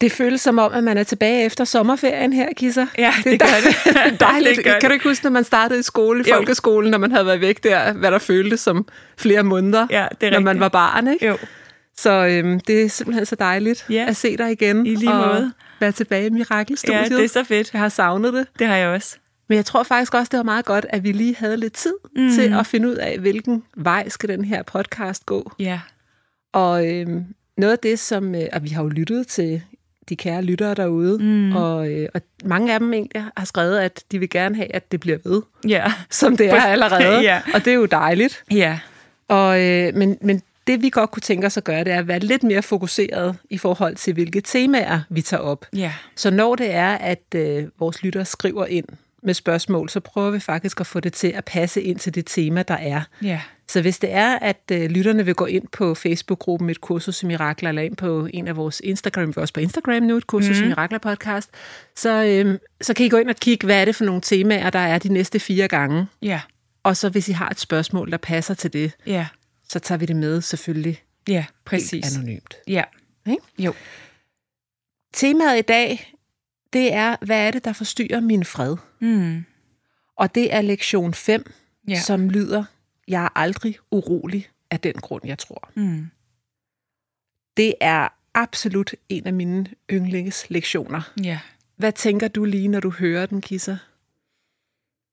Det føles som om, at man er tilbage efter sommerferien her, Kisser. Ja, det gør det. det er dejligt. Det gør det. Kan du ikke huske, når man startede i skole, i Jo. folkeskolen, når man havde været væk der, hvad der føltes som flere måneder, Ja, det er når rigtigt. man var barn, ikke? Jo. Så øhm, det er simpelthen så dejligt Ja. at se dig igen. I lige og måde. være tilbage i Mirakelstudiet. Ja, det er så fedt. Jeg har savnet det. Det har jeg også. Men jeg tror faktisk også, det var meget godt, at vi lige havde lidt tid mm. til at finde ud af, hvilken vej skal den her podcast gå. Ja. Og øhm, noget af det, som... Øh, og vi har jo lyttet til de kære lyttere derude, mm. og, øh, og mange af dem egentlig har skrevet, at de vil gerne have, at det bliver ved, Ja. som det er allerede. Ja. Og det er jo dejligt. Ja. Og, øh, men, men det, vi godt kunne tænke os at gøre, det er at være lidt mere fokuseret i forhold til, hvilke temaer vi tager op. Ja. Så når det er, at øh, vores lyttere skriver ind med spørgsmål, så prøver vi faktisk at få det til at passe ind til det tema, der er. Ja. Så hvis det er, at øh, lytterne vil gå ind på Facebook-gruppen Et Kursus i Mirakler, eller ind på en af vores Instagram, vi er også på Instagram nu, Et Kursus mm. i Mirakler podcast, så, øh, så kan I gå ind og kigge, hvad er det for nogle temaer, der er de næste fire gange. Ja. Og så hvis I har et spørgsmål, der passer til det, Ja. så tager vi det med selvfølgelig Ja, helt præcis. anonymt. Ja. Ikke? Jo. Temaet i dag, det er, hvad er det, der forstyrrer min fred? Mm. Og det er lektion 5, Ja. ja. som lyder, jeg er aldrig urolig af den grund, jeg tror. Mm. Det er absolut en af mine yndlingslektioner. Ja. Hvad tænker du lige, når du hører den, Kisser?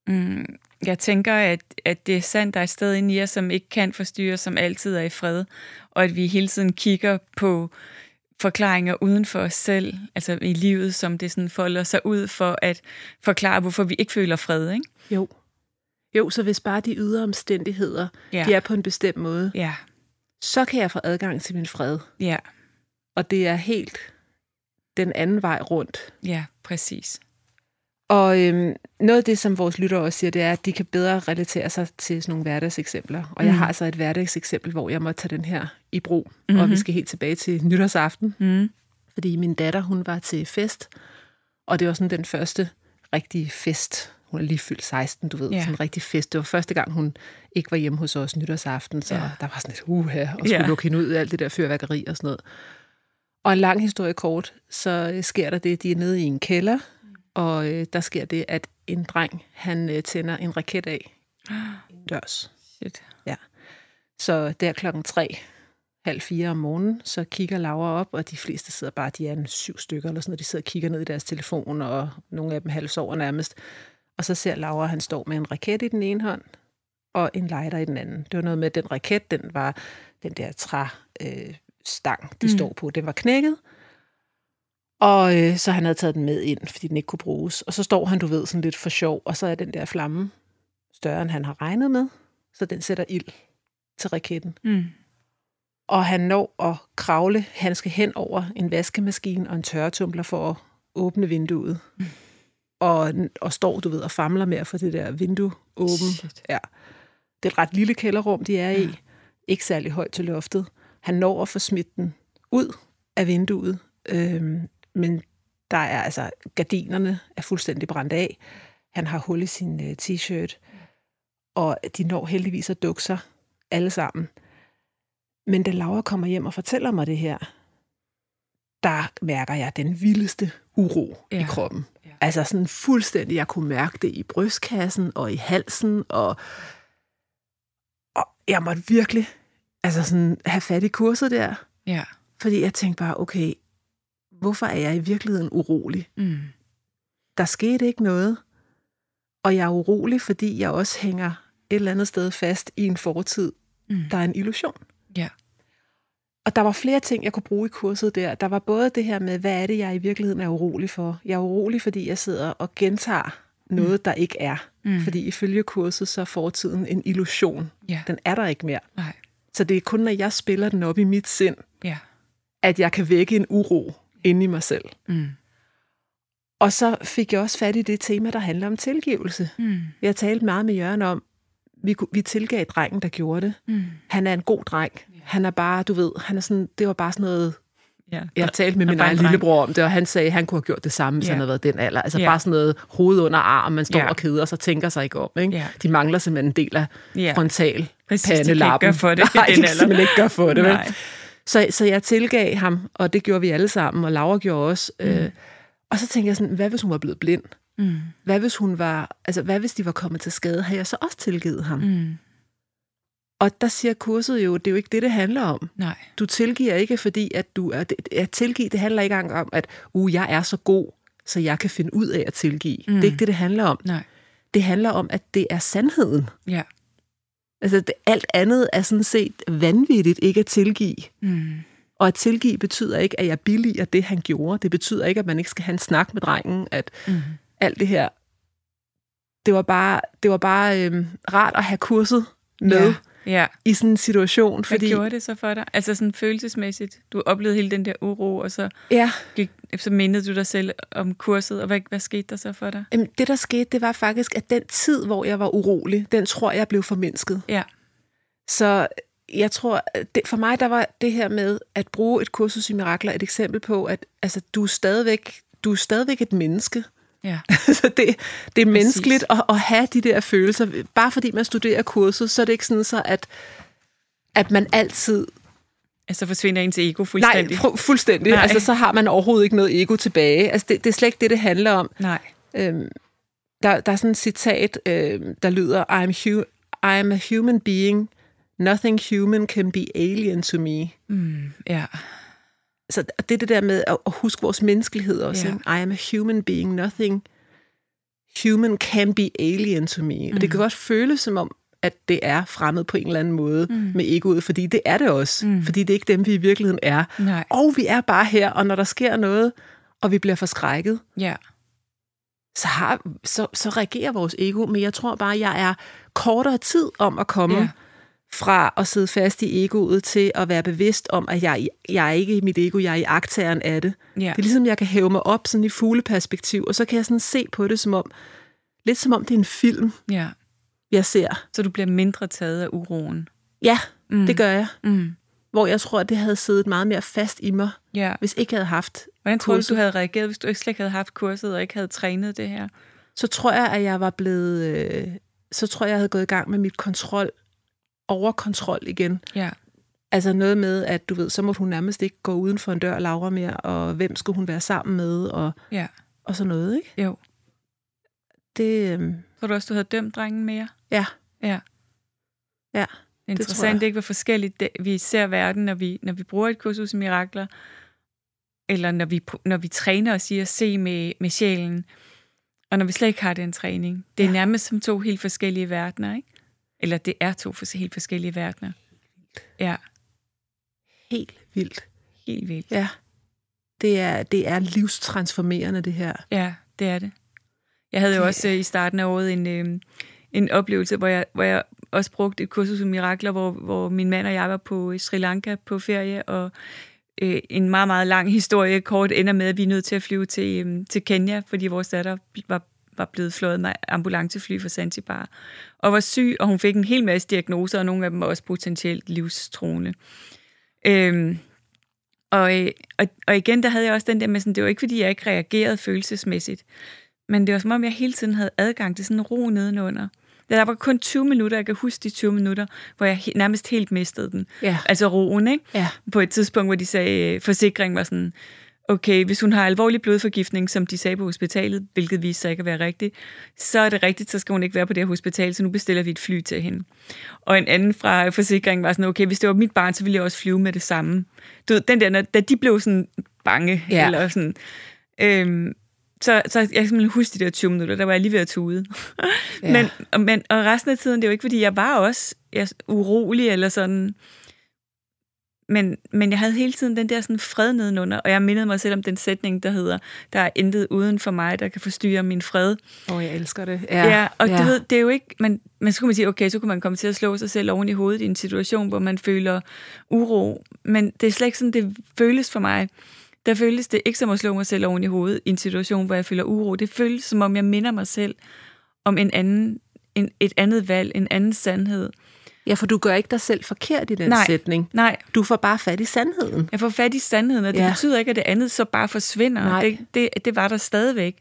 Mm. Jeg tænker, at, at det er sandt, der er et sted inde i os, som ikke kan forstyrre, som altid er i fred, og at vi hele tiden kigger på forklaringer uden for os selv, altså i livet, som det sådan folder sig ud for at forklare, hvorfor vi ikke føler fred, ikke? Jo. Jo, så hvis bare de ydre omstændigheder Ja. ja. de er på en bestemt måde, Ja, så kan jeg få adgang til min fred. ja, Og det er helt den anden vej rundt. ja, præcis. Og øhm, noget af det, som vores lyttere også siger, det er, at de kan bedre relatere sig til sådan nogle hverdagseksempler. Og mm. jeg har så et hverdagseksempel, hvor jeg må tage den her i brug. Mm-hmm. Og vi skal helt tilbage til nytårsaften, Mm. fordi min datter, hun var til fest. Og det var sådan den første rigtige fest. Hun er lige fyldt 16, du ved. Ja. Yeah. Sådan en rigtig fest. Det var første gang, hun ikke var hjemme hos os nytårsaften. Så Ja. yeah. der var sådan et uha, og skulle Ja. yeah. lukke hende ud af alt det der fyrværkeri og sådan noget. Og en lang historie kort, så øh, sker der det, de er nede i en kælder, og øh, der sker det, at en dreng, han øh, tænder en raket af dørs. Shit. Så der klokken tre, halv fire om morgenen, så kigger Laura op, og de fleste sidder bare, de er en syv stykker eller sådan noget, de sidder og kigger ned i deres telefon, og nogle af dem halvsover nærmest. Og så ser Laura, han står med en raket i den ene hånd, og en lighter i den anden. Det var noget med, at den raket, den var den der træ, øh, stang, de mm. står på, den var knækket. Og øh, så han havde taget den med ind, fordi den ikke kunne bruges. Og så står han, du ved, sådan lidt for sjov, og så er den der flamme større, end han har regnet med, så den sætter ild til raketten Mm. og han når at kravle. Han skal hen over en vaskemaskine og en tørretumbler for at åbne vinduet. Mm. Og, og står, du ved, og famler med at få det der vindue åbent. Shit. Ja. Det er et ret lille kælderrum, de er i. Ikke særlig højt til loftet. Han når at få smidt den ud af vinduet, øhm, men der er altså, gardinerne er fuldstændig brændt af. Han har hul i sin øh, t-shirt, og de når heldigvis at dukke sig alle sammen. Men da Laura kommer hjem og fortæller mig det her, der mærker jeg den vildeste uro ja. i Ja. kroppen. Ja. Ja. Altså sådan fuldstændig, jeg kunne mærke det i brystkassen og i halsen, og, og jeg måtte virkelig altså sådan, have fat i kurset der. Ja. Fordi jeg tænkte bare, okay, hvorfor er jeg i virkeligheden urolig? Mm. Der skete ikke noget. Og jeg er urolig, fordi jeg også hænger et eller andet sted fast i en fortid, mm. der er en illusion. Ja. Og der var flere ting, jeg kunne bruge i kurset der. Der var både det her med, hvad er det, jeg i virkeligheden er urolig for? Jeg er urolig, fordi jeg sidder og gentager noget, mm. der ikke er. Mm. Fordi ifølge kurset, så er fortiden en illusion. Ja. Den er der ikke mere. Nej. Så det er kun, når jeg spiller den op i mit sind, Ja. at jeg kan vække en uro inde i mig selv. Mm. Og så fik jeg også fat i det tema, der handler om tilgivelse. Mm. Jeg talte meget med Jørgen om, vi, kunne- vi tilgav drengen, der gjorde det. Mm. Han er en god dreng. Han er bare, du ved, han er sådan, det var bare sådan noget, Ja. jeg talte med min bare en egen dreng. lillebror om det, og han sagde, at han kunne have gjort det samme, hvis Ja. han havde været den alder. Altså Ja. bare sådan noget hoved under arm, man står Ja. og keder sig og tænker sig ikke om. Ikke? Ja. De mangler simpelthen en del af Ja. frontal Præcis, de kan ikke gøre for det i Nej, de den kan alder. simpelthen ikke gøre for det. Vel? Nej. Så, så jeg tilgav ham, og det gjorde vi alle sammen, og Laura gjorde også. Mm. Øh, og så tænkte jeg sådan, hvad hvis hun var blevet blind? Mm. Hvad hvis, hun var, altså, hvad hvis de var kommet til skade? Havde jeg så også tilgivet ham? Mm. Mm. Og der siger kurset jo, det er jo ikke det, det handler om. Nej. Du tilgiver ikke, fordi at du er... det- At tilgive, det handler ikke engang om, at uh, jeg er så god, så jeg kan finde ud af at tilgive. Mm. Det er ikke det, det handler om. Nej. Det handler om, at det er sandheden. Ja. Altså, det, alt andet er sådan set vanvittigt ikke at tilgive. Mm. Og at tilgive betyder ikke, at jeg billiger det, han gjorde. Det betyder ikke, at man ikke skal have en snak med drengen, at Mm. alt det her. Det var bare, det var bare øhm, rart at have kurset med ja. Ja. i sådan en situation. Hvad Fordi, gjorde det så for dig? Altså sådan følelsesmæssigt. Du oplevede hele den der uro, og så, Ja, gik, så mindede du dig selv om kurset, og hvad, hvad skete der så for dig? Jamen, det der skete, det var faktisk, at den tid, hvor jeg var urolig, den tror jeg blev formindsket. Ja. Så jeg tror, at det, for mig der var det her med at bruge et kursus i mirakler et eksempel på, at altså, du, er stadigvæk, du er stadigvæk et menneske. Ja. så det, det er menneskeligt at, at have de der følelser. Bare fordi man studerer kurset, så er det ikke sådan så, at, at man altid... Altså forsvinder ens ego Nej, fuldstændig? fu- fuldstændig. Nej. Nej. Altså, så har man overhovedet ikke noget ego tilbage. Altså, det, det er slet ikke det, det handler om. Nej. Øhm, der, der er sådan et citat, øhm, der lyder, I'm, hu- I'm a human being. Nothing human can be alien to me. Mm. Ja. Så det er det der med at, at huske vores menneskelighed også. Ja. Ja. I am a human being. Nothing human can be alien to me. Mm. Og det kan godt føles som om, at det er fremmed på en eller anden måde mm. med egoet, fordi det er det også. Mm. Fordi det er ikke dem, vi i virkeligheden er. Nej. Og vi er bare her, og når der sker noget, og vi bliver forskrækket, Ja. så, har, så, så reagerer vores ego, men jeg tror bare, jeg er kortere tid om at komme Ja. ja. fra at sidde fast i egoet til at være bevidst om, at jeg, jeg er ikke i mit ego, jeg er i aktageren af det. Ja. Det er ligesom, jeg kan hæve mig op sådan i fugleperspektiv, og så kan jeg sådan se på det som om, lidt som om det er en film, Ja. jeg ser. Så du bliver mindre taget af uroen? Ja, mm. det gør jeg. Mm. Hvor jeg tror, at det havde siddet meget mere fast i mig, Ja. hvis ikke jeg havde haft Hvordan tror du, du kurset. havde reageret, hvis du ikke slet ikke havde haft kurset og ikke havde trænet det her? så tror jeg, at jeg var blevet... Øh, så tror jeg, jeg havde gået i gang med mit kontrol, overkontrol igen. Ja. Altså noget med, at du ved, så måtte hun nærmest ikke gå uden for en dør, Laura, mere, og hvem skulle hun være sammen med, og, Ja. og sådan noget, ikke? Jo. Det, øhm, Tror du også, du havde dømt drengen mere? ja, Ja. ja, Det er tror interessant, jeg. ikke hvor forskelligt det, vi ser verden, når vi, når vi bruger et kursus i mirakler, eller når vi, pr- når vi træner os i at se med, med sjælen, og når vi slet ikke har den træning. Det er ja. Ja. nærmest som to helt forskellige verdener, ikke? Eller det er to fors- helt forskellige verdener. Ja, helt vildt. helt vildt. Ja, det er, det er livstransformerende, det her. Ja, det er det. Jeg havde jo Det- også øh, i starten af året en, øh, en oplevelse, hvor jeg, hvor jeg også brugte et kursus i mirakler, hvor, hvor min mand og jeg var på øh, Sri Lanka på ferie, og øh, en meget, meget lang historie kort ender med, at vi er nødt til at flyve til, øh, til Kenya, fordi vores datter var, var blevet flået med ambulancefly fra Zanzibar, og var syg, og hun fik en hel masse diagnoser, og nogle af dem var også potentielt livstruende. Øhm, og, øh, og, og igen, der havde jeg også den der med, sådan, det var ikke fordi, jeg ikke reagerede følelsesmæssigt, men det var som om, jeg hele tiden havde adgang til sådan en ro nedenunder. Der var kun 20 minutter, jeg kan huske de 20 minutter, hvor jeg he- nærmest helt mistede den. Ja. Altså roen, ikke? Ja. På et tidspunkt, hvor de sagde, øh, forsikring var sådan, okay, hvis hun har alvorlig blodforgiftning, som de sagde på hospitalet, hvilket viste sig ikke at være rigtigt, så er det rigtigt, så skal hun ikke være på det her hospital, så nu bestiller vi et fly til hende. Og en anden fra forsikringen var sådan, okay, hvis det var mit barn, så ville jeg også flyve med det samme. Du ved, den der, når, da de blev sådan bange, ja. Ja. eller sådan, øhm, så, så jeg kan simpelthen huske de der 20 minutter, der var jeg lige ved at tude. Ja. men, og- men, og resten af tiden, det er jo ikke, fordi jeg var også jeg, urolig eller sådan. Men, men jeg havde hele tiden den der sådan fred nedenunder, og jeg mindede mig selv om den sætning, der hedder, der er intet uden for mig, der kan forstyrre min fred. Åh, jeg elsker det. Ja, ja og ja. du ved, det er jo ikke... Man, men så kunne man sige, okay, så kunne man komme til at slå sig selv oven i hovedet i en situation, hvor man føler uro. Men det er slet ikke sådan, det føles for mig. Der føles det ikke som at slå mig selv oven i hovedet i en situation, hvor jeg føler uro. Det føles som om, jeg minder mig selv om en anden, en, et andet valg, en anden sandhed. ja, for du gør ikke dig selv forkert i den Nej. sætning. Nej, Du får bare fat i sandheden. jeg får fat i sandheden, og det Ja. ja. betyder ikke, at det andet så bare forsvinder. Nej. Det, det, det var der stadigvæk.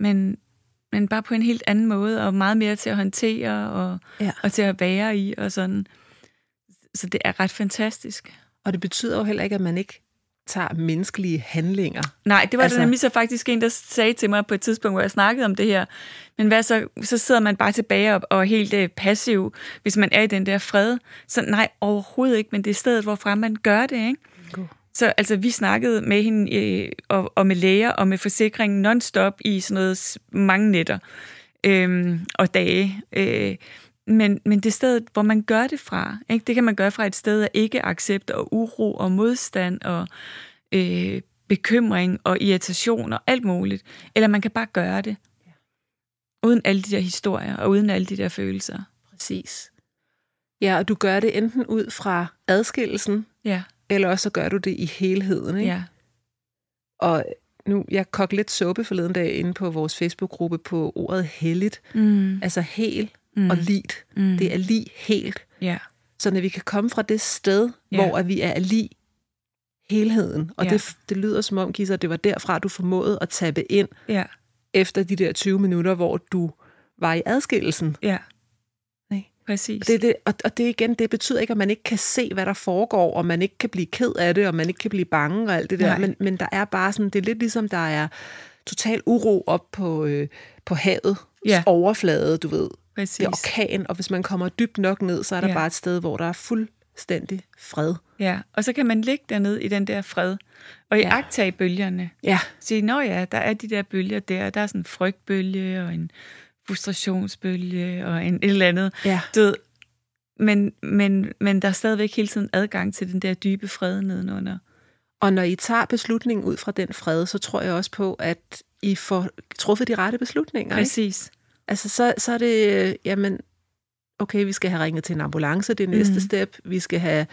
Men, men bare på en helt anden måde, og meget mere til at håndtere, og... Ja. og til at være i og sådan. Så det er ret fantastisk. Og det betyder jo heller ikke, at man ikke tager menneskelige handlinger. Nej, det var altså, Altså- der nemlig så faktisk en, der sagde til mig på et tidspunkt, hvor jeg snakkede om det her. Men hvad så? Så sidder man bare tilbage og, og er helt øh, passiv, hvis man er i den der fred. Så nej, overhovedet ikke, men det er stedet, hvorfra man gør det, ikke? God. Så altså, vi snakkede med hende øh, og, og med læger og med forsikringen non-stop i sådan noget s- mange nætter øh, og dage. Øh, men, men det sted, hvor man gør det fra, ikke? det kan man gøre fra et sted af ikke-accept og uro og modstand og øh, bekymring og irritation og alt muligt. Eller man kan bare gøre det. Uden alle de der historier og uden alle de der følelser. Præcis. Ja, og du gør det enten ud fra adskillelsen, Ja, eller også så gør du det i helheden. Ikke? ja. Og nu, jeg kogte lidt suppe forleden dag inde på vores Facebook-gruppe på ordet helligt. Mm, Altså hel mm, og lit. mm, Det er lige helt. ja. Så når vi kan komme fra det sted, Ja. hvor at vi er lige helheden. Og Ja. det, det lyder som om, Gisa, det var derfra, du formåede at tabe ind ja, efter de der 20 minutter, hvor du var i adskillelsen. ja. Nej. Præcis. Og det, er det, og, og det igen, det betyder ikke, at man ikke kan se, hvad der foregår, og man ikke kan blive ked af det, og man ikke kan blive bange og alt det der. Nej. Men, men der er bare sådan, det er lidt ligesom, der er total uro op på, øh, på havet, Ja. overflade, du ved. Præcis. Det er orkan, og hvis man kommer dybt nok ned, så er der Ja. bare et sted, hvor der er fuldstændig fred. Ja, og så kan man ligge dernede i den der fred, og i Ja. ja. bølgerne. Ja, Sige, nå ja, der er de der bølger der, der er sådan en frygtbølge og en frustrationsbølge og en et eller andet. ja. Du ved, men, men, men der er stadigvæk hele tiden adgang til den der dybe fred nedenunder. Og når I tager beslutningen ud fra den fred, så tror jeg også på, at I får truffet de rette beslutninger. ikke? Præcis. Altså, så, så er det, øh, jamen, okay, vi skal have ringet til en ambulance, det er næste Mhm. step. Vi skal have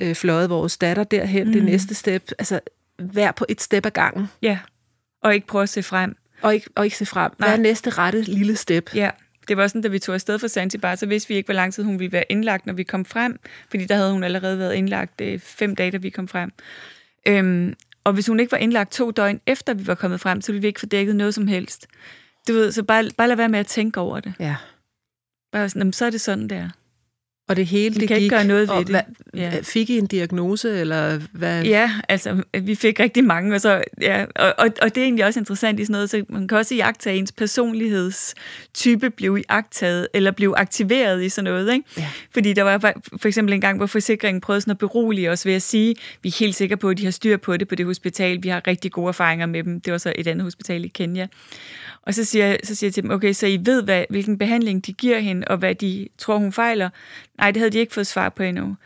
øh, fløjet vores datter derhen, det er Mhm. næste step. Altså, vær på et step ad gangen, Ja, og ikke prøve at se frem. og ikke, og ikke se frem. Hvad er Nej. næste rette lille step? Ja, det var sådan, da vi tog afsted fra Zanzibar, så vidste vi ikke, hvor lang tid hun ville være indlagt, når vi kom frem, fordi der havde hun allerede været indlagt øh, fem dage, da vi kom frem. Øhm, og hvis hun ikke var indlagt to døgn efter, vi var kommet frem, så ville vi ikke få dækket noget som helst. Du ved, så bare, bare lad være med at tænke over det. Ja. Bare sådan, "Jamen, så er det sådan, der. Og det hele, Vi det kan gik. ikke gøre noget ved og det. Hvad, øh, Ja. Fik I en diagnose, eller hvad? Ja, altså, vi fik rigtig mange, og, så, ja, og, og, og det er egentlig også interessant i sådan noget, så man kan også iagtage, at ens personlighedstype blev iagtaget, eller blev aktiveret i sådan noget, ikke? Ja. Fordi der var for- for eksempel en gang, hvor forsikringen prøvede sådan at berolige os ved at sige, vi er helt sikre på, at de har styr på det på det hospital, vi har rigtig gode erfaringer med dem, det var så et andet hospital i Kenya. Og så siger, jeg- så siger jeg til dem, okay, så I ved, hvad, hvilken behandling de giver hende, og hvad de tror, hun fejler? Nej, det havde de ikke fået svar på endnu.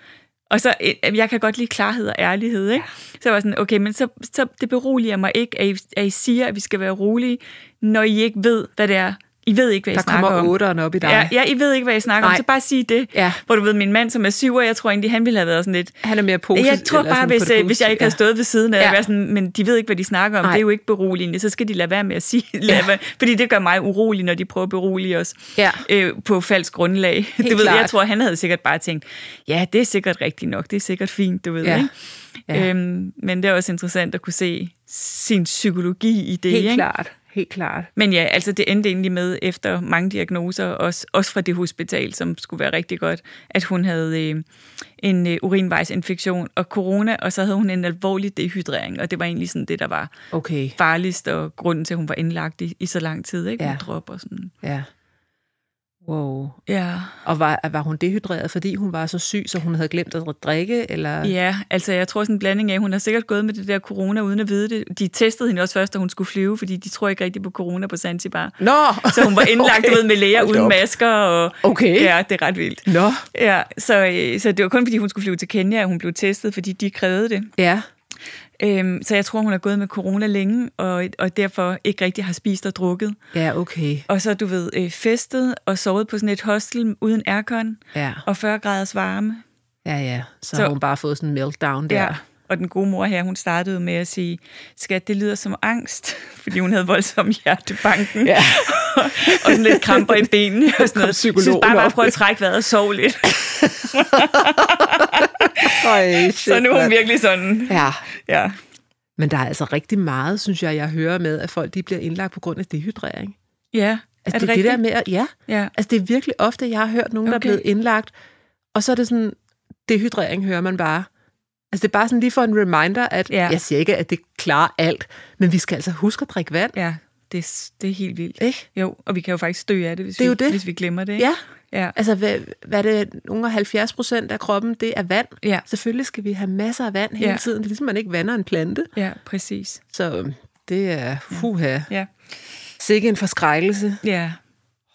Og så, øh, jeg kan godt lide klarhed og ærlighed, ikke? Så jeg var sådan, okay, men så, så det beroliger mig ikke, at I, at I siger, at vi skal være rolige, når I ikke ved, hvad det er. I ved ikke, hvad Der I snakker kommer om. otteren op i dig. Ja, ja, I ved ikke, hvad I snakker Nej. Nej. om, så bare sig det. Ja. Hvor du ved, min mand, som er syv, og jeg tror egentlig, han ville have været sådan lidt... Han er mere positiv. jeg tror eller bare, sådan på hvis, det øh, hvis jeg ikke positive. havde stået ved siden af, Ja. ja. være sådan, men de ved ikke, hvad de snakker om, Nej. Nej. det er jo ikke beroligende, så skal de lade være med at sige, lade ja. være, fordi det gør mig urolig, når de prøver at berolige os Ja. øh, på falsk grundlag. du ved, klart. jeg tror, han havde sikkert bare tænkt, ja, det er sikkert rigtigt nok, det er sikkert fint, du ved, Ja. ikke? Ja. Øhm, men det er også interessant at kunne se sin psykologi i det, Helt ikke? klart, helt klart. Men ja, altså det endte egentlig med, efter mange diagnoser, også, også fra det hospital, som skulle være rigtig godt, at hun havde øh, en øh, urinvejsinfektion og corona, og så havde hun en alvorlig dehydrering, og det var egentlig sådan det, der var Okay, farligst, og grunden til, at hun var indlagt i, i så lang tid, ikke? Ja. Med drop og sådan. ja. Wow. Ja. Og var, var hun dehydreret, fordi hun var så syg, så hun havde glemt at drikke? Eller? Ja, altså jeg tror sådan en blanding af, hun har sikkert gået med det der corona uden at vide det. De testede hende også først, da hun skulle flyve, fordi de tror ikke rigtigt på corona på Zanzibar. Nå! Så hun var indlagt okay. ved med læger Hold da uden op. masker. Og, Okay. Ja, det er ret vildt. Nå. Ja, så, øh, så det var kun fordi, hun skulle flyve til Kenya, at hun blev testet, fordi de krævede det. Ja. Øhm, så jeg tror, hun har gået med corona længe, og, og derfor ikke rigtig har spist og drukket. Ja, okay. Og så, du ved, øh, festet og sovet på sådan et hostel uden aircon Ja, og 40 graders varme. ja, ja. Så, så Så- har hun bare fået sådan en meltdown der. Og den gode mor her, hun startede med at sige, skat, det lyder som angst, fordi hun havde voldsom hjertebanken. Ja. og sådan lidt kramper i benene og sådan noget. psykologen Så bare, bare op. prøv at trække vejret og sove lidt. Øj, shit, Så nu er hun mand. virkelig sådan, Ja. ja. Men der er altså rigtig meget, synes jeg, jeg hører med, at folk de bliver indlagt på grund af dehydrering. Ja, Altså, det, det, det der med, at, ja, Ja. altså det er virkelig ofte, jeg har hørt nogen, okay. der er Okay. blevet indlagt, og så er det sådan, dehydrering hører man bare. Altså det er bare sådan lige for en reminder, at ja. Ja. jeg siger ikke, at det klarer alt, men vi skal altså huske at drikke vand, Ja, det, er s- det er helt vildt. ikke? Jo, og vi kan jo faktisk dø af det, hvis, Det er jo vi, det. hvis vi glemmer det. Ikke? Ja, Ja. altså hvad, hvad er det, nogle af 70 procent af kroppen, det er vand. Ja. Selvfølgelig skal vi have masser af vand hele Ja. tiden. Det er ligesom, man ikke vander en plante. ja, præcis. Så øhm, det er, huha, Ja, sikke en forskrækkelse. ja.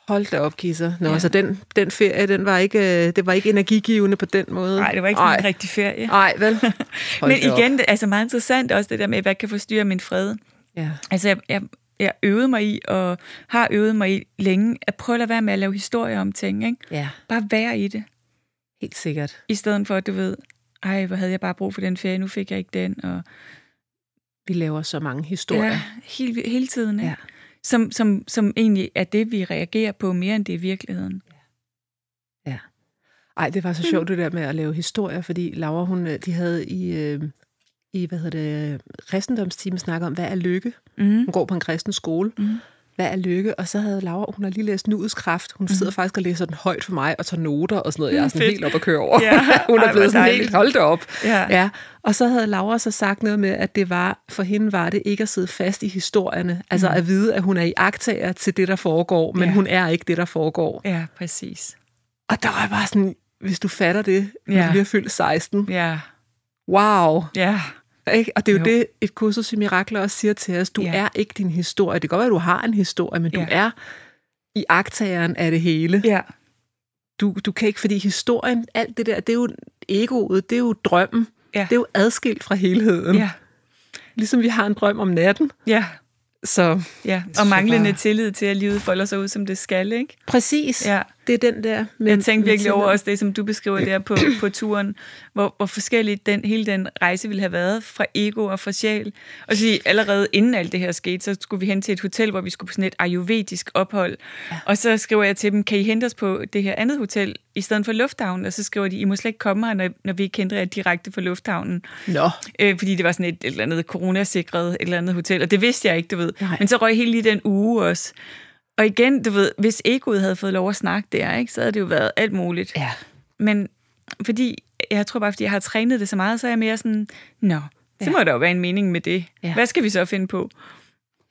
Hold da op, Kisser. Nå, ja. Ja. så den, den ferie, den var ikke, øh, det var ikke energigivende på den måde. Nej, det var ikke sådan en rigtig ferie. Nej, vel? Hold Men da op. igen, det er altså meget interessant også det der med, hvad kan forstyrre min fred. Ja. Altså, jeg, jeg, jeg øvede mig i, og har øvet mig i længe, at prøve at lade være med at lave historier om ting. Ikke? ja, Bare være i det, helt sikkert. i stedet for, at du ved, ej, hvor havde jeg bare brug for den ferie, nu fik jeg ikke den. Og, Vi laver så mange historier. ja, Ja. hele, hele tiden. Ikke? Ja. Som, som, som egentlig er det, vi reagerer på mere, end det er virkeligheden. Ej, det var så sjovt det der med at lave historier, fordi Laura, hun, øh, de havde i, øh, i hvad hedder det, øh, kristendomstimen snakket om, hvad er lykke? Mm. Hun går på en kristen skole. Mhm. Hvad er lykke? Og så havde Laura, hun har lige læst Nuets Kraft. Hun sidder faktisk og læser den højt for mig og tager noter og sådan noget. Jeg er Mm, sådan fedt. helt op at køre over. Ja, hun ej, er hvor blevet sådan dejligt. helt holdt op. Ja. Ja, og så havde Laura så sagt noget med, at det var, for hende var det ikke at sidde fast i historierne. Altså at vide, at hun er i aktager til det, der foregår, men ja. Mm. Ja. hun er ikke det, der foregår. Ja, præcis. Og der var jeg bare sådan, hvis du fatter det, når Ja. du lige har fyldt 16. Ja, Wow! ja, Ikke? Og det er jo, Jo. det, et kursus i mirakler også siger til os. Du Ja. er ikke din historie. Det kan godt være, at du har en historie, men du Ja. er i agtageren af det hele. ja, Du, du kan ikke, fordi historien, alt det der, det er jo egoet, det er jo drømmen. Ja. Det er jo adskilt fra helheden. ja, Ligesom vi har en drøm om natten. ja. Så ja. synes Og jeg manglende bare- tillid til, at livet folder sig ud, som det skal, ikke? præcis, Ja. det er den der. Men, Jeg tænkte virkelig over også det, som du beskriver der på, på turen, hvor, hvor forskelligt den, hele den rejse ville have været fra ego og fra sjæl. Og så allerede inden alt det her skete, så skulle vi hen til et hotel, hvor vi skulle på sådan et ayurvedisk ophold. Ja. Og så skriver jeg til dem, kan I hente os på det her andet hotel i stedet for lufthavnen? Og så skriver de, I må slet ikke komme her, når, når vi ikke henter jer direkte fra lufthavnen. Nå, Øh, fordi det var sådan et, et eller andet coronasikret et eller andet hotel, og det vidste jeg ikke, du ved. Nej. Men så røg hele lige den uge også. Og igen, du ved, hvis egoet havde fået lov at snakke der, ikke, så havde det jo været alt muligt. ja. Men fordi, jeg tror bare, fordi jeg har trænet det så meget, så er jeg mere sådan, nå, så Ja. må der jo være en mening med det. Ja. Hvad skal vi så finde på?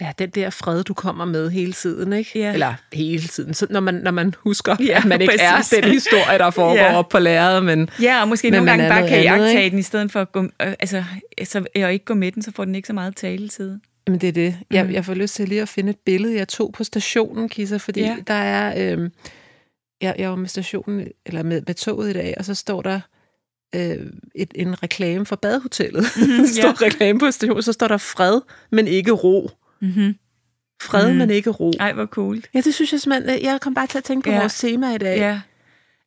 Ja, den der fred, du kommer med hele tiden, ikke? Ja. Eller hele tiden, så når, man, når man husker, ja, Ja, at man ikke præcis. er den historie, der foregår ja. Ja. op på lærredet, men Ja, og måske Men men nogle man gange er bare noget kan andet, jagtage ikke? den, i stedet for at gå, øh, altså, så, og ikke gå med den, så får den ikke så meget taletid. Jamen, det er det. Jeg, jeg får lyst til lige at finde et billede, jeg tog på stationen, Kisser, fordi ja. Ja. der er... Øh, jeg, jeg var med stationen, eller med, med toget i dag, og så står der øh, et, en reklame for badehotellet. Mm-hmm, står ja. reklame på stationen, så står der fred, men ikke ro. Mm-hmm. Fred, mm. Mhm. men ikke ro. Ej, hvor cool. Ja, det synes jeg simpelthen... øh, Jeg kom bare til at tænke på ja. Ja. vores tema i dag. Ja,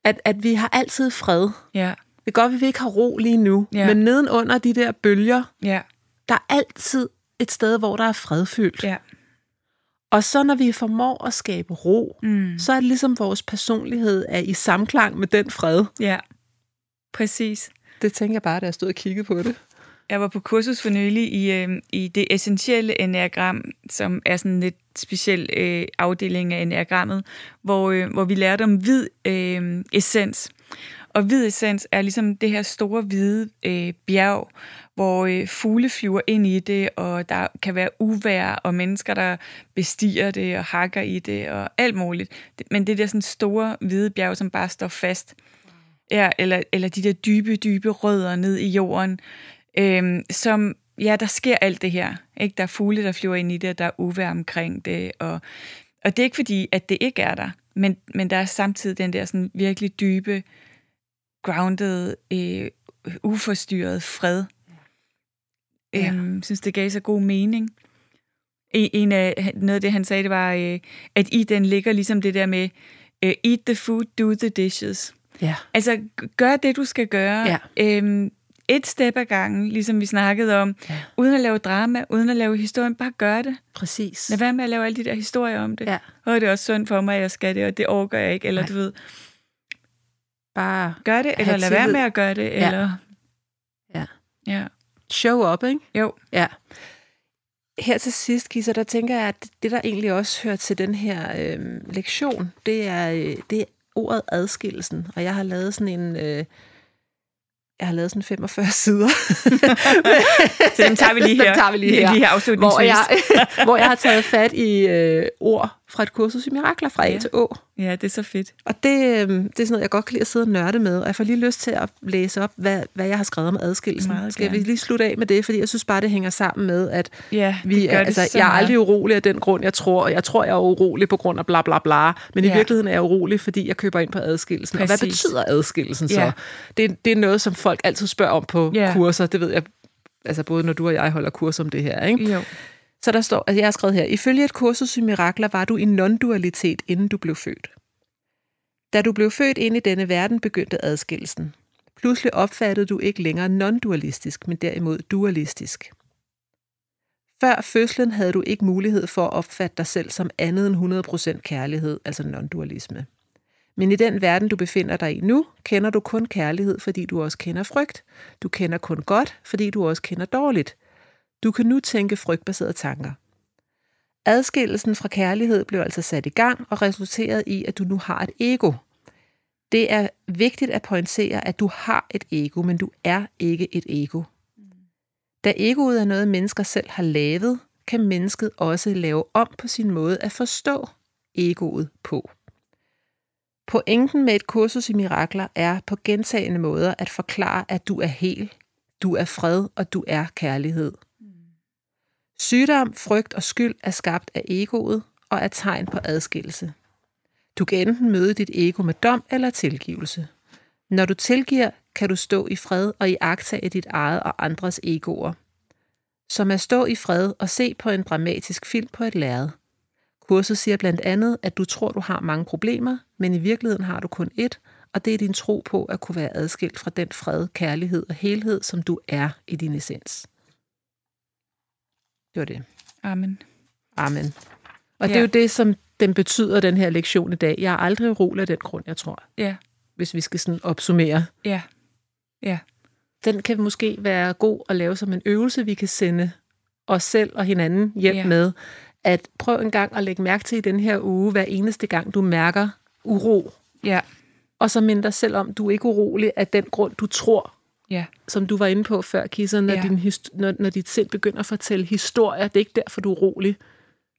At, at vi har altid fred. ja, Det er godt, at vi ikke har ro lige nu, ja. Ja. men nedenunder de der bølger, ja, der er altid et sted, hvor der er fredfyldt. ja. Og så når vi formår at skabe ro, Mm. så er det ligesom vores personlighed er i samklang med den fred. Ja, præcis. Det tænker jeg bare, da jeg stod og kiggede på det. Jeg var på kursus for nylig i, øh, i det essentielle enneagram, som er sådan en lidt speciel øh, afdeling af enneagrammet, hvor, øh, hvor vi lærte om hvid øh, essens. Og hvid essens er ligesom det her store hvide øh, bjerg, hvor øh, fugle flyver ind i det, og der kan være uvær og mennesker, der bestiger det og hakker i det og alt muligt. Men det der sådan store hvide bjerg, som bare står fast. Ja, eller, eller de der dybe, dybe rødder ned i jorden, øh, som ja, der sker alt det her. Ikke? Der er fugle, der flyver ind i det, og der er uvær omkring det. Og, og det er ikke fordi, at det ikke er der, men, men der er samtidig den der sådan virkelig dybe, grounded, øh, uforstyrret fred. Jeg ja. øhm, synes, det gav så god mening. En, en af, noget af det, han sagde, det var, øh, at i den ligger ligesom det der med, øh, eat the food, do the dishes. Ja. Altså, gør det, du skal gøre. Ja. Øhm, et step ad gangen, ligesom vi snakkede om, Ja. uden at lave drama, uden at lave historien, bare gør det. Præcis. Lad være med at lave alle de der historier om det. Ja. Og det er også synd for mig, at jeg skal det, og det overgår jeg ikke. Eller Nej. du ved, Bare gør det, eller lad være tillid. med at gøre det. Eller... Ja. ja. show up, ikke? Jo. Ja. Her til sidst, Gisa, der tænker jeg, at det, der egentlig også hører til den her øh, lektion, det er, øh, det er ordet adskillelsen. Og jeg har lavet sådan en... Øh, jeg har lavet sådan 45 sider. Så dem tager vi lige her. Dem tager vi lige her. Lige her afslutningsvis. hvor jeg, hvor jeg har taget fat i øh, ord fra et kursus i Mirakler fra A Ja. til Å. Ja, det er så fedt. Og det, øh, det er sådan noget, jeg godt kan lide at sidde og nørde med, og jeg får lige lyst til at læse op, hvad, hvad jeg har skrevet om adskillelsen. Meget Skal vi gerne. lige slutte af med det, fordi jeg synes bare, det hænger sammen med, at Ja, det vi gør er, det altså, så jeg er meget. aldrig urolig af den grund, jeg tror, og jeg tror, jeg er urolig på grund af bla bla bla, men i Ja. virkeligheden er jeg urolig, fordi jeg køber ind på adskillelsen. Og hvad Præcis. betyder adskillelsen så? Ja. Det, det er noget, som folk altid spørger om på Ja. kurser, det ved jeg, altså både når du og jeg holder kurser om det her, ikke? Jo. Så der står, altså jeg har skrevet her, ifølge et kursus i mirakler var du i non-dualitet, inden du blev født. Da du blev født ind i denne verden, begyndte adskillelsen. Pludselig opfattede du ikke længere non-dualistisk, men derimod dualistisk. Før fødslen havde du ikke mulighed for at opfatte dig selv som andet end 100% kærlighed, altså non-dualisme. Men i den verden, du befinder dig i nu, kender du kun kærlighed, fordi du også kender frygt. Du kender kun godt, fordi du også kender dårligt. Du kan nu tænke frygtbaserede tanker. Adskillelsen fra kærlighed blev altså sat i gang og resulterede i, at du nu har et ego. Det er vigtigt at pointere, at du har et ego, men du er ikke et ego. Da egoet er noget, mennesker selv har lavet, kan mennesket også lave om på sin måde at forstå egoet på. Pointen med et kursus i mirakler er på gentagende måder at forklare, at du er hel, du er fred og du er kærlighed. Sygdom, frygt og skyld er skabt af egoet og er tegn på adskillelse. Du kan enten møde dit ego med dom eller tilgivelse. Når du tilgiver, kan du stå i fred og iagtage dit eget og andres egoer. Som at stå i fred og se på en dramatisk film på et lærred. Kurset siger blandt andet, at du tror, du har mange problemer, men i virkeligheden har du kun ét, og det er din tro på at kunne være adskilt fra den fred, kærlighed og helhed, som du er i din essens. Det var det. Amen. Amen. Ja. Og ja. det er jo det, som den betyder, den her lektion i dag. Jeg er aldrig urolig af den grund, jeg tror, Ja, hvis vi skal sådan opsummere. ja, ja. Den kan måske være god at lave som en øvelse, vi kan sende os selv og hinanden hjem ja. Ja. med. At prøv en gang at lægge mærke til i den her uge, hver eneste gang, du mærker uro. Ja, Og så mind dig selv om, du er ikke urolig af den grund, du tror, ja, som du var inde på før, Kisser, når, ja. Ja. din hist- når, når dit sind begynder at fortælle historier. Det er ikke derfor, du er urolig.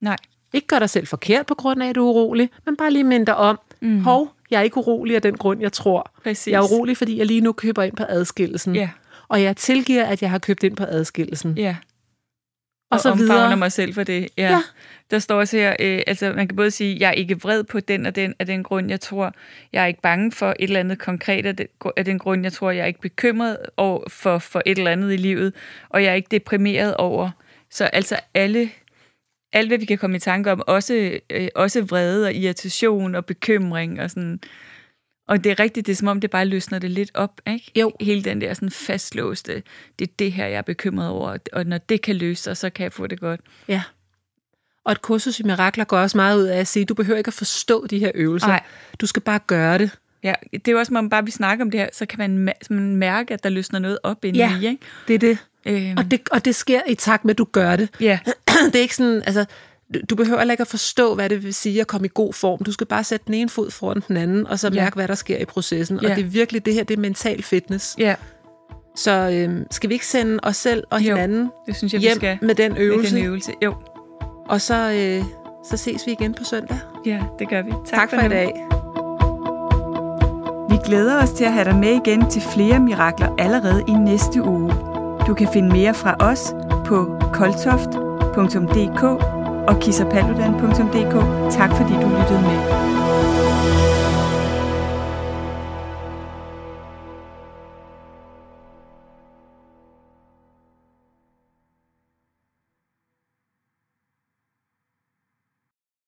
nej, Ikke gør dig selv forkert på grund af, at du er urolig, men bare lige minde dig om, mm. hov, jeg er ikke urolig af den grund, jeg tror. Mhm. præcis. Jeg er urolig, fordi jeg lige nu køber ind på adskillelsen. Ja, Og jeg tilgiver, at jeg har købt ind på adskillelsen. ja. Og, og så omfavner videre. mig selv for det. Ja. Ja. ja. Der står også her, øh, altså man kan både sige, jeg er ikke vred på den og den af den grund, jeg tror, jeg er ikke bange for et eller andet konkret af den, gru- af den grund, jeg tror, jeg er ikke bekymret over for, for et eller andet i livet, og jeg er ikke deprimeret over. Så altså alle, alt hvad vi kan komme i tanke om, også, øh, også vrede og irritation og bekymring og sådan. Og det er rigtigt, det er som om, det bare løsner det lidt op, ikke? Jo. Hele den der sådan fastlåste, det er det her, jeg er bekymret over, og når det kan løse sig, så kan jeg få det godt. Ja. Og et kursus i mirakler går også meget ud af at sige, du behøver ikke at forstå de her øvelser. Nej. Du skal bare gøre det. Ja, det er jo også, når bare vi snakker om det her, så kan man, mæ- man mærke, at der løsner noget op indeni, Ja. ikke? Det er det. Øhm, Og det, og det sker i takt med, at du gør det. ja, det er ikke sådan, altså, du behøver heller ikke at forstå, hvad det vil sige at komme i god form. Du skal bare sætte den ene fod foran den anden, og så Ja. mærke, hvad der sker i processen. Ja. Og det er virkelig det her, det er mental fitness. Ja, Så øhm, skal vi ikke sende os selv og Jo. hinanden jo. det synes jeg, vi hjem skal med den øvelse? med den øvelse. Jo, Og så, øh, så ses vi igen på søndag. ja, det gør vi. Tak, Tak, tak for i nu. dag. Vi glæder os til at have dig med igen til flere mirakler allerede i næste uge. Du kan finde mere fra os på koltoft.dk og kissapaludan.dk. Tak fordi du lyttede med.